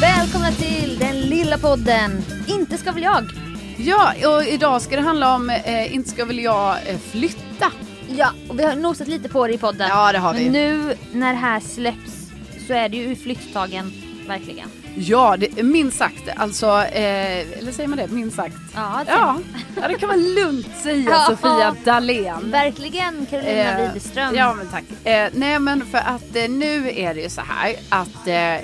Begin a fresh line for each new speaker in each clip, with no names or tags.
Välkomna till den lilla podden Inte ska väl jag?
Ja, och idag ska det handla om eh, Inte ska väl jag eh, flytta?
Ja, och vi har nosat lite på det i podden.
Ja, det har vi.
Men nu när det här släpps så är det ju ur flytttagen, verkligen.
Ja, det, minst sagt. Alltså, eh, eller säger man det? Minst sagt.
Ja, det säger
ja. ja, det kan man lugnt säga
Ja.
Sofia Dalén.
Verkligen Carolina
Eh,
Widerström.
Ja men tack. Eh, nej men för att eh, nu är det ju så här att eh,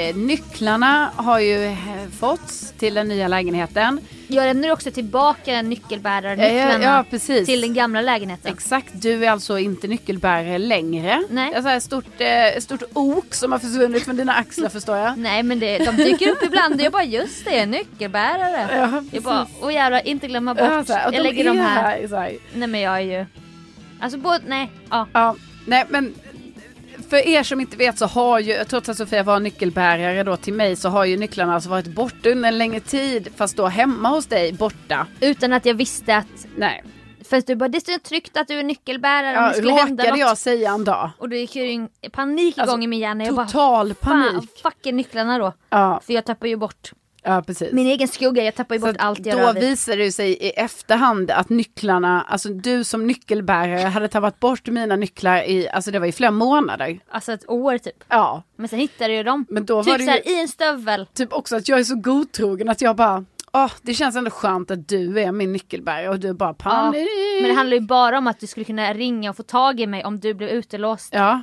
eh, nycklarna har ju eh, fåtts till den nya lägenheten.
Jag lämnar också tillbaka nyckelbärarnycklarna
Eh, Ja, ja, precis.
till den gamla lägenheten.
Exakt, du är alltså inte nyckelbärare längre.
Nej.
Det är så här stort, eh, stort ok som har försvunnit från dina axlar förstår jag.
Nej men det, de dyker upp ibland och jag bara just det, nyckelbärare. jag bara, åh jävlar inte glömma bort.
Ja, så här, och
jag lägger dem
är
här.
så här.
Nej men jag är ju, alltså både, nej, ja.
Ja, nej men för er som inte vet så har ju, trots att Sofia var nyckelbärare då till mig, så har ju nycklarna alltså varit borta under en längre tid, fast då hemma hos dig, borta.
Utan att jag visste att
Nej,
För att du bara, det stod tryckt att du är nyckelbärare om
ja,
det skulle hända
råkade
något.
jag säga en dag.
Och då gick ju en panik igång
Alltså,
i min hjärna. Jag bara,
Total
fan,
panik.
fuck är nycklarna då?
Ja,
För jag tappar ju bort
ja, precis.
min egen skugga, jag tappar ju
Så
bort allt jag
då
rör vid.
visade det sig i efterhand att nycklarna, alltså du som nyckelbärare hade tagit bort mina nycklar i, alltså det var i flera månader.
Alltså ett år typ.
Ja,
Men sen hittade jag dem.
Men då
typ
var det ju-
såhär i en stövel.
typ också att jag är så godtrogen att jag bara, ah det känns ändå skönt att du är min nyckelbärare och du bara
Ja.
panik.
Men det handlar ju bara om att du skulle kunna ringa och få tag i mig om du blev utelåst.
Ja,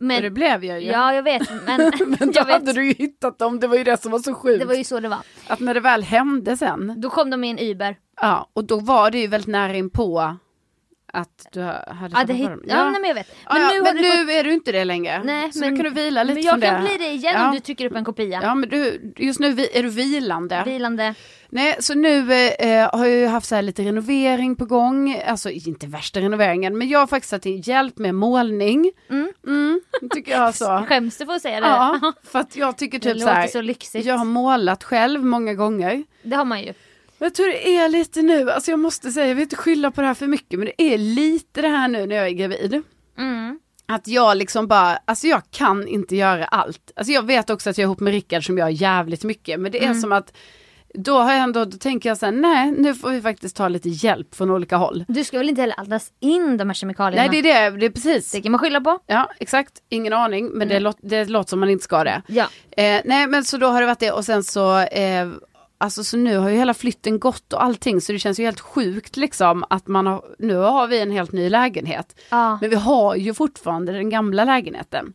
och
Men,
det blev jag ju.
ja jag vet men,
Men då
jag
hade
vet.
du ju hittat dem, det var ju det som var så sjukt.
Det var ju så det var.
Att när det väl hände sen,
Då kom de i en Uber.
ja, och då var det ju väldigt nära inpå att du hade
Ja, det
tappat
hit...
bort dem.
ja, nej, men jag vet. Men
ja,
nu
nu,
har
men
du
nu
fått...
är du inte det längre.
Nej,
så
men-
nu kan du vila lite
Men jag
från
kan
det.
bli det igen
ja.
om du trycker upp en kopia.
Ja, men du, just nu vi- är du vilande.
Vilande.
Nej, så nu eh, har jag ju haft så här lite renovering på gång. Alltså inte värsta renoveringen, men jag har faktiskt satt in hjälp med målning.
Mm.
Mm, tycker jag så.
Skäms du för att säga det?
ja, för att jag tycker
det
typ så
låter
här.
så lyxigt.
Jag har målat själv många gånger.
Det har man ju.
Men jag tror det är lite nu, alltså jag måste säga, jag vill inte skylla på det här för mycket, men det är lite det här nu när jag är gravid.
Mm.
Att jag liksom bara, alltså jag kan inte göra allt. Alltså jag vet också att jag är ihop med Rickard som gör jävligt mycket, men det är
Mm.
som att då har jag ändå, då tänker jag så här, nej nu får vi faktiskt ta lite hjälp från olika håll.
Du ska väl inte heller andas in de här kemikalierna?
Nej det är det, det är precis.
Det Mm. kan man skylla på.
Ja exakt, ingen aning, men det, låt, det låter som man inte ska det.
Ja.
Eh, nej men så då har det varit det och sen så, eh, alltså så nu har ju hela flytten gått och allting så det känns ju helt sjukt liksom att man har, nu har vi en helt ny lägenhet.
Ja.
Men vi har ju fortfarande den gamla lägenheten.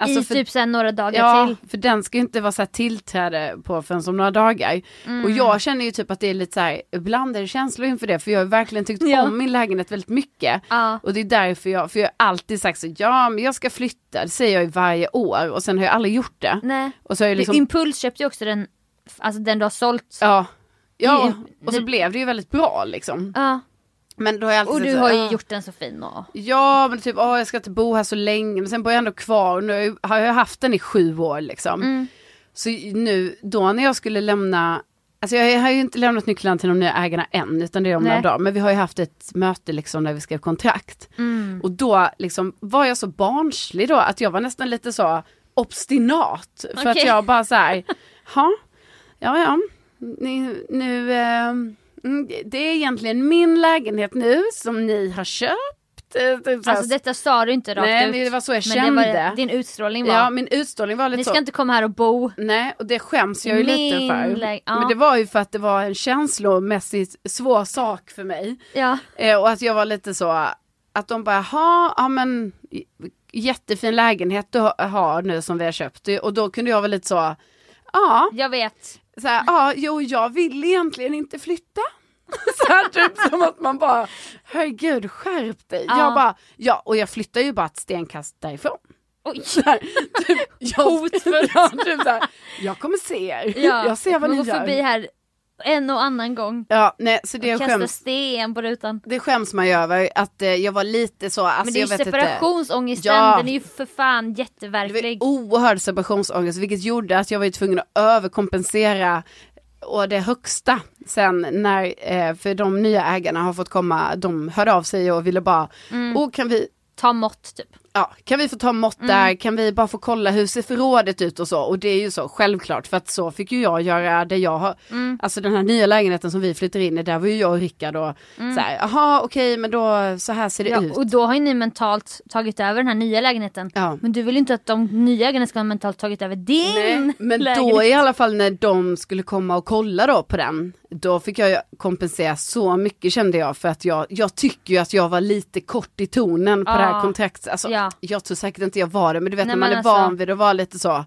Alltså
I
för-
typ så här några dagar
Ja,
till.
för den ska ju inte vara så här tillträde på förrän om några dagar. Och jag känner ju typ att det är lite så här, ibland är det känslor inför det för jag har verkligen tyckt
Ja.
om min lägenhet väldigt mycket.
Ja.
Och det är därför jag, för jag har alltid sagt så ja men jag ska flytta, det säger jag ju varje år och sen har jag aldrig gjort det.
Nej.
Och så har jag liksom,
Impuls köpte ju också den, alltså den du har sålt.
ja, ja
Det-
och så
det-
blev det ju väldigt bra liksom.
Ja.
Men då har jag alltid
Och
sagt
du
så
har
här,
ju
"Ah."
gjort den så fin och...
Ja, men typ, åh, jag ska inte bo här så länge, men sen bor jag ändå kvar och nu har jag ju- har jag haft den i sju år liksom. Så nu, då när jag skulle lämna, alltså jag har ju inte lämnat nycklarna till de nya ägarna än, utan det är om några
Nej.
dagar, men vi har ju haft ett möte liksom där vi skrev kontrakt.
Mm.
Och då liksom var jag så barnslig då att jag var nästan lite så obstinat, för att
Okej.
jag bara så här, ha? Ja, ja. Ni, nu, eh, mm, det är egentligen min lägenhet nu som ni har köpt. Eh, typ så här.
Alltså detta sa du inte rakt
Nej,
ut.
det var så jag
men
kände.
det var din utstrålning var.
ja, min utstrålning var lite
Ni
så.
ska inte komma här och bo.
Nej, och det skäms jag ju lite
Min
för.
lä- ja.
Men det var ju för att det var en känslomässigt svår sak för mig.
Ja.
Eh, och att jag var lite så, att de bara, ha, ja men j- jättefin lägenhet du ha- har nu som vi har köpt. Och då kunde jag vara lite så, ja,
Jag vet.
så här, ja, jo jag vill egentligen inte flytta. Så här, typ som att man bara, herregud skärp dig.
Ja.
Jag bara, ja och jag flyttar ju bara ett stenkast därifrån. typ,
Oj.
Jag,
Hotfullt.
ja, typ så här, jag kommer se er,
Ja,
jag ser vad
man
ni
går
gör.
förbi här en och annan gång.
Ja, nej, så det
Det kastar
skäms,
sten på rutan.
det skäms man ju över att eh, jag var lite så, alltså,
Men det är ju
jag vet inte.
separationsångesten,
Ja.
den är ju för fan
Det var
jätteverklig.
oerhörd separationsångest vilket gjorde att jag var ju tvungen att överkompensera och det högsta sen när, eh, för de nya ägarna har fått komma, de hörde av sig och ville bara,
Mm.
oh, kan, vi,
Ta mått typ.
ja, kan vi få ta
Mm.
mått där, kan vi bara få kolla hur ser förrådet ut och så. Och det är ju så självklart för att så fick ju jag göra det jag har,
Mm.
alltså den här nya lägenheten som vi flyttar in i, där var ju jag och Rickard och så här, jaha okej men då så här ser det
Mm. Ja,
ut.
och då har ju ni mentalt tagit över den här nya lägenheten.
Ja.
Men du vill ju inte att de nya ägarna ska ha mentalt tagit över din
Nej, men
lägenhet.
då i alla fall när de skulle komma och kolla då på den, då fick jag ju kompensera så mycket kände jag för att jag, jag tycker ju att jag var lite kort i tonen på
Ja.
det här kontraktet. Alltså,
Ja.
Jag tror säkert inte jag var det, men du vet
Nej,
när man är
men
van
alltså- Mm.
vid att vara lite så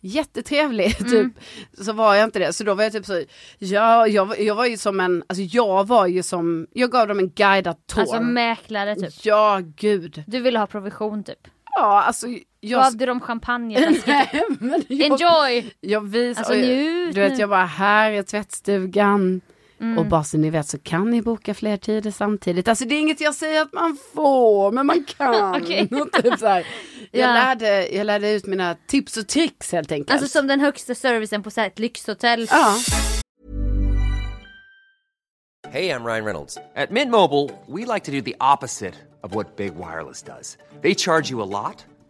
jättetrevlig typ, så var jag inte det. Så då var jag typ så, ja, jag, var- jag var ju som en, alltså jag var ju som, jag gav dem en guidad tour.
Alltså mäklare typ.
Ja, gud.
Du ville ha provision typ.
Ja, alltså jag...
Gav du dem champagne? fast-
Nej, men jag-
Enjoy!
jag visar,
Alltså,
och jag-
njut
du vet
nu. Mm.
jag bara här är tvättstugan. Och bara så ni vet så kan ni boka fler tider samtidigt. Alltså det är inget jag säger att man får, men man kan.
Okej.
Och typ så här. Jag,
Ja.
lärde, jag lärde ut mina tips och tricks helt enkelt.
Alltså som den högsta servicen på så här ett lyxhotell.
ja.
Hey, I'm Ryan Reynolds. At Mint Mobile, we like to do the opposite of what Big Wireless does. They charge you a lot,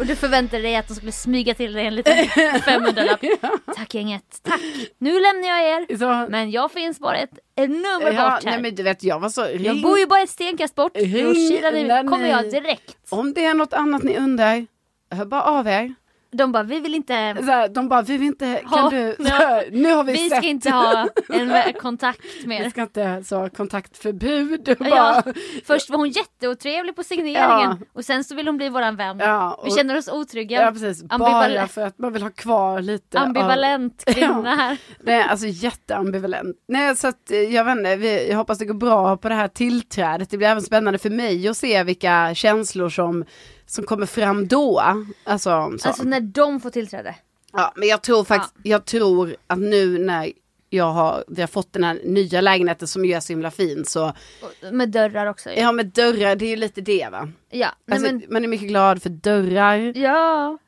Och du förväntade dig att de skulle smyga till dig en liten 500-lapp. Tack gänget, tack. Nu lämnar jag er.
Så,
Men jag finns bara ett, ett nummer
ja,
bort här.
nej, men du vet jag var så
Jag
ring,
bor ju bara ett stenkast bort.
Ring
Då kilar
när
ni, kommer
ni-
jag direkt.
Om det är något annat ni undrar, hör bara av er.
De bara, vi vill inte...
Så här, de bara vi vill inte, kan
Ha-
du,
Ja.
så här, nu har vi,
Vi
sett.
ska inte ha en vä- kontakt med
Vi
er.
ska inte så kontaktförbud. och
Ja,
Bara,
först var hon jätteotrevlig på signeringen och sen så vill hon bli våran vän.
Ja, och-
Vi känner oss otrygga.
Ja precis, bara
Ambival-
för att man vill ha kvar lite Av...
ambivalent kvinna här.
Nej, alltså jätteambivalent. Nej, så att eh, jag vet inte, vi, jag hoppas det går bra på det här tillträdet. Det blir även spännande för mig att se vilka känslor som, som kommer fram då. Alltså, så.
Alltså när de får tillträde.
ja, men jag tror faktiskt, jag tror att nu när jag har, vi har fått den här nya lägenheten som ju är så himla fin så,
Och- Med dörrar också. Ja,
ja med dörrar, det är ju lite det va.
Nej,
Alltså,
men,
Man är mycket glad för dörrar.
ja.
Eh,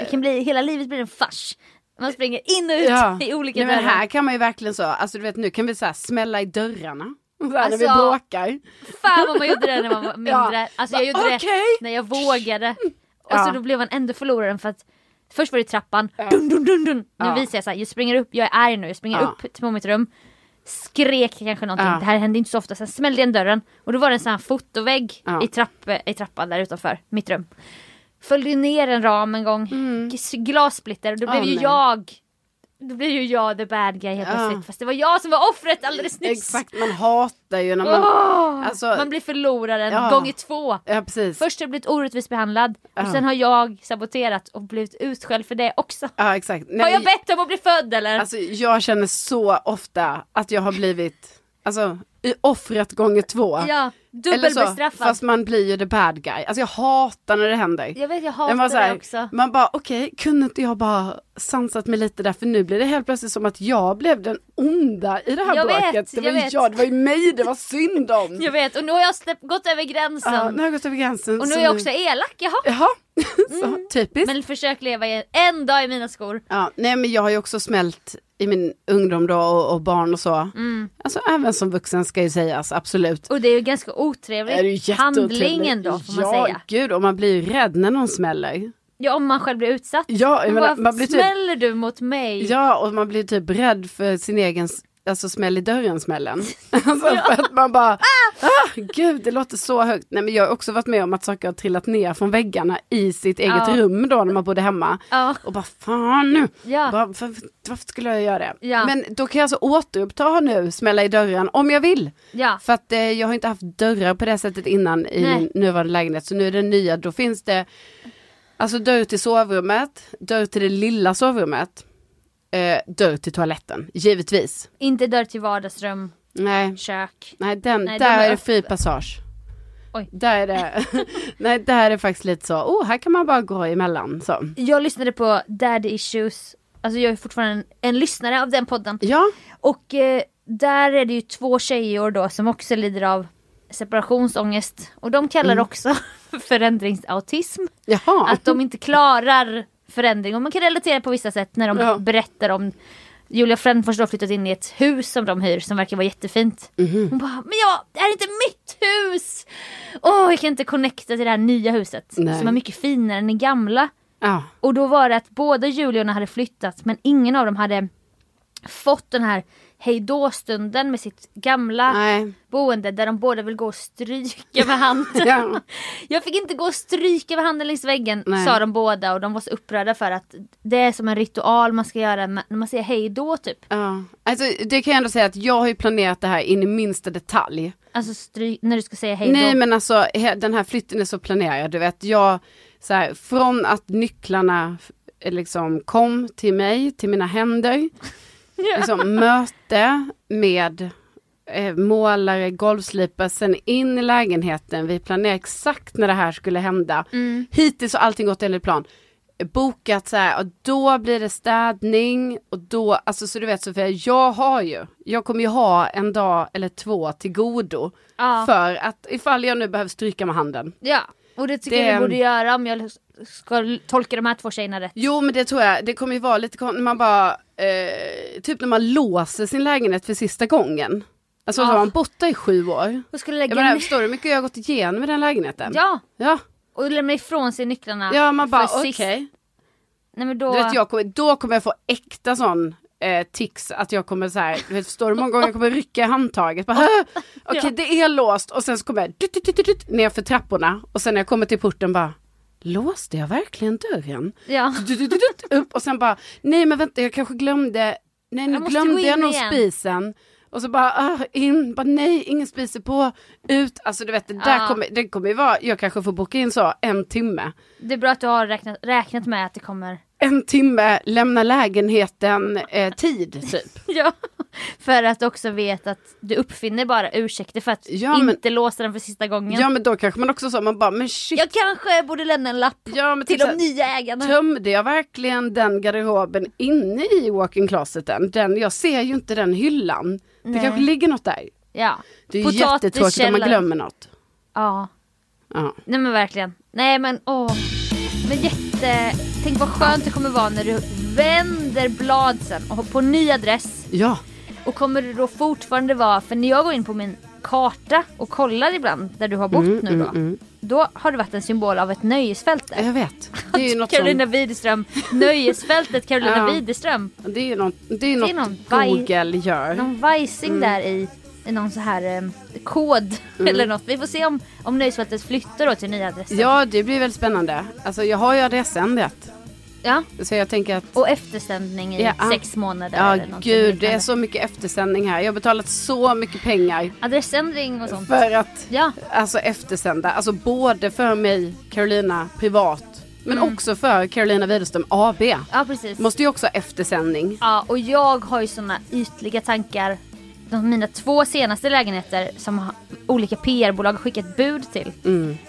Det kan bli, hela livet blir en fars. Man springer in och ut i olika
Nej, men
dörrar.
här kan man ju verkligen så, alltså du vet nu kan vi så här smälla i dörrarna. Så här,
Alltså,
när vi bråkar.
Fan vad man gjorde det när man var mindre.
Ja.
Alltså jag gjorde
Okej.
det när jag vågade. Och så
Ja.
då blev man ändå förloraren för att först var det trappan, dun, dun, dun, dun. nu
Ja.
visar jag såhär, jag springer upp, jag är arg nu, jag springer
Ja.
upp till mitt rum. Skrek kanske någonting,
Ja.
det här hände inte så ofta. Sen smällde jag igen dörren och då var det en sån här fotovägg
Ja.
i, trapp, eh, i trappan där utanför mitt rum. Följde ner en ram en gång, glassplitter, och då blev
Mm. Åh,
ju
nej.
jag Då blir ju jag the bad guy helt
Ja.
plötsligt. Fast det var jag som var offret alldeles nyss.
Exakt, man hatar ju när man...
Åh!
alltså-
man blir förloraren
Ja.
gånger två.
Ja, precis.
Först har jag blivit orättvist behandlad och sen har jag saboterat och blivit utskälld för det också.
Ja, exakt. Nej,
har jag
men-
bett om att bli född eller?
Alltså jag känner så ofta att jag har blivit, alltså i offret gånger två.
ja,
Eller så,
dubbelbestraffad.
Fast man blir ju the bad guy. Alltså jag hatar när det händer.
Jag vet, jag
Man bara
hatar
så här,
det också.
Man bara okej, kunde inte jag bara sansat mig lite där för nu blir det helt plötsligt som att jag blev den onda i det här
Jag vet,
bråket. det var
jag
ju
vet.
jag, det var ju mig det var synd om.
Jag vet, och nu har jag släppt- gått över
Ja,
gränsen.
nu har jag gått över gränsen.
och nu
så
är jag också elak, jaha.
Jaha, så, typiskt.
Men försök leva i- en dag i mina skor.
Ja, nej men jag har ju också smält i min ungdom då och, och barn och så.
Mm.
Alltså även som vuxen ska ju sägas, absolut.
Och det är ju ganska otrevligt.
är det ju jätteotrevligt.
Handlingen då får man
ja,
säga.
gud och man blir ju rädd när någon smäller.
Ja, om man själv blir utsatt.
Ja, jag
Man
menar,
bara,
man blir typ,
Smäller du mot mig?
ja och man blir typ rädd för sin egen, s- alltså smäll i dörren smällen. alltså för att man bara, ah, gud det låter så högt. Nej men jag har också varit med om att saker har trillat ner från väggarna i sitt eget
Ja.
rum då när man bodde hemma.
Ja.
Och bara fan nu,
Ja.
bara, varför, varför skulle jag göra det?
Ah. Ja.
Men då kan jag alltså återuppta nu, smälla i dörren om jag vill.
Ja.
För att eh, jag har inte haft dörrar på det sättet innan i
Nej.
min nuvarande lägenhet. Så nu är det nya, då finns det alltså dörr till sovrummet, dörr till det lilla sovrummet, eh, dörr till toaletten, givetvis.
Inte dörr till vardagsrum,
Nej,
kök.
nej, den,
Nej, den
där
var
är det
öppen.
fri passage.
Oj.
Där är det, nej där är det faktiskt lite så, oh här kan man bara gå emellan så.
Jag lyssnade på Daddy Issues, alltså jag är fortfarande en, en lyssnare av den podden.
Ja,
Och eh, där är det ju två tjejer då som också lider av separationsångest. Och de kallar
Mm.
det också förändringsautism.
jaha.
Att de inte klarar förändring. Och man kan relatera på vissa sätt när de
Ja.
berättar om Julia Frändfors då har flyttat in i ett hus som de hyr som verkar vara jättefint.
Mhm.
Hon bara, men jag, det här är inte mitt hus! Åh, jag kan inte connecta till det här nya huset
Nej.
som är mycket finare än det gamla.
ja.
Och då var det att båda Juliorna hade flyttat men ingen av dem hade fått den här hejdå-stunden med sitt gamla
Nej.
boende där de båda vill gå och stryka med handen.
Ja.
Jag fick inte gå och stryka med handen längs väggen
Nej.
sa de båda och de var så upprörda för att det är som en ritual man ska göra när man säger hejdå typ.
Ja, alltså det kan jag ändå säga att jag har ju planerat det här in i minsta detalj.
Alltså stry- när du ska säga hejdå.
Nej men alltså he- den här flytten är så planerad, du vet jag, så här, från att nycklarna f- liksom kom till mig, till mina händer, liksom möte med eh, målare, golvslipare, sen in i lägenheten, vi planerar exakt när det här skulle hända. Hittills har allting gått enligt plan. Bokat så här, och då blir det städning och då, alltså så du vet Sofia, jag har ju, jag kommer ju ha en dag eller två till godo.
Ja.
För att ifall jag nu behöver stryka med handen.
Ja, och det tycker jag
Det-
vi borde göra om jag ska l- tolka de här två tjejerna rätt.
Jo men det tror jag, det kommer ju vara lite kon- när man bara, eh, typ när man låser sin lägenhet för sista gången. Alltså
Ja.
så har man bott där i sju år.
Och skulle lägga
Jag menar,
ner-
förstår du hur mycket jag har gått igenom i den lägenheten?
Ja,
Ja,
och lämna ifrån sig nycklarna.
ja man bara
för
okej.
sist. Nej men då...
Du vet, jag kommer, då kommer jag få äkta sån eh, tics att jag kommer så här, du vet, förstår du hur många gånger jag kommer rycka i handtaget. Bara, "Hä? Okej
Ja.
det är låst och sen så kommer jag dut, dut, dut, dut, ner för trapporna och sen när jag kommer till porten bara Låste jag verkligen dörren?
Ja.
Dut, dut, dut, dut, upp och sen bara nej men vänta jag kanske glömde, nej nu
Jag måste gå
glömde
in
jag nog
igen."
spisen. Och så bara ah, in, bara nej ingen spis är på, ut, alltså du vet det där
Ja.
kommer, det kommer ju vara, jag kanske får boka in så en timme
Det är bra att du har räknat, räknat med att det kommer...
en timme, lämna lägenheten, eh, tid typ.
Ja. För att också veta att du uppfinner bara ursäkter för att
Ja, men-
inte låsa den för sista gången.
Ja men då kanske man också sa, man bara men shit,
Jag kanske borde lämna en lapp
ja, men
till
typ
de
så här,
nya ägarna.
Tömde jag verkligen den garderoben inne i walk-in closeten? Den, jag ser ju inte den hyllan. Det
Nej.
kanske ligger något där.
Ja.
Det är ju jättetråkigt om man
Potatiskällaren.
glömmer något.
Ja.
Ja.
Nej men verkligen. Nej men åh. Men jätte... Tänk vad skönt det kommer vara när du vänder blad sen och har på ny adress.
ja.
Och kommer det då fortfarande vara, för när jag går in på min karta och kollar ibland där du har bott
Mm,
nu då. Då har det varit en symbol av ett nöjesfält där.
Jag vet. Det är ju något,
Carolina
som,
Widerström, nöjesfältet Carolina
Ja.
Widerström.
det är ju något, det är
är
något
någon vaj-
Google gör.
Någon vajsing
Mm.
där i, i någon så här eh, kod eller något. Vi får se om, om nöjesfältet flyttar då till nya adressen.
Ja det blir väl spännande. Alltså jag har ju adressen rätt.
Ja.
Så jag tänker att...
Och efterstämning i
Ja.
sex månader.
Ja,
eller någonting
gud, det är
liknande.
så mycket eftersändning här. Jag har betalat så mycket pengar
Adressändring och sånt.
för att
Ja.
alltså, eftersända. Alltså både för mig, Carolina, privat, men
Mm.
också för Carolina Widerström AB.
ja, precis.
Måste ju också ha eftersändning.
Ja, och jag har ju såna ytliga tankar. De, mina två senaste lägenheter som ha- olika PR-bolag har skickat bud till.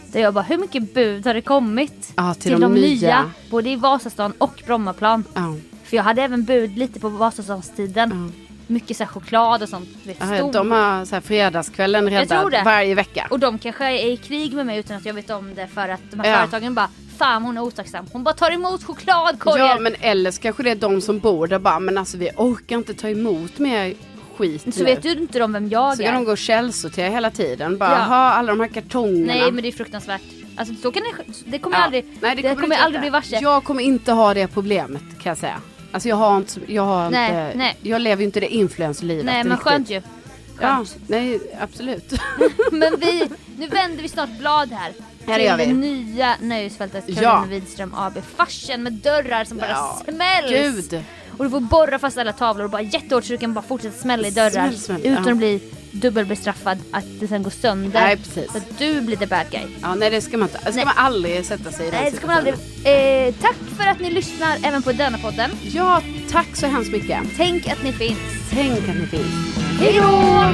Där jag bara, hur mycket bud har det kommit?
Mm. Ja, till de nya.
Både i Vasastan och Brommaplan.
Ja.
För jag hade även bud lite på Vasastanstiden. Mycket så här choklad och sånt. du Vet,
Ja,
stor-
De har så här fredagskvällen
tror det.
räddad varje vecka.
Och de kanske är i krig med mig utan att jag vet om det för att de här
Ja.
företagen bara Fan hon är otacksam. Hon bara tar emot chokladkorgar.
Ja men eller så kanske det är de som bor där bara men alltså vi orkar inte ta emot mer skit
Så
nu.
vet ju inte de vem jag
så
är.
kan de gå och källsortera hela tiden. Bara
Ja.
ha alla de här kartongerna.
Nej men det är fruktansvärt. Alltså så kan det, det kommer jag
Ja.
aldrig,
Nej,
det
det
kommer
inte
jag aldrig bli
hända.
varse.
Jag kommer inte ha det problemet kan jag säga. Alltså jag har inte, jag har
Nej,
inte,
nej.
jag lever ju inte det influencerlivet
Nej men
riktigt.
skönt ju.
Ja,
Skönt.
nej absolut.
Men vi, nu vänder vi snart blad här.
Ja, det gör
till
vi.
nya nöjesfältet Karolina
Ja.
Widström AB. Farsen med dörrar som bara
Ja,
smälls.
Gud.
Och du får borra fast alla tavlor och bara jättehårt så du kan bara fortsätta smälla i dörrar.
Smäll, smäll,
utan
ja.
att bli dubbelbestraffad att det sen går sönder.
Nej, precis.
Så att du blir the bad guy.
Ja, nej det ska man inte, det
Nej.
ska man aldrig sätta sig i den
Nej det ska man aldrig.
situationen.
Eh, tack för att ni lyssnar även på denna podden.
Ja, tack så hemskt mycket.
Tänk att ni finns.
Tänk att ni finns.
Hej då!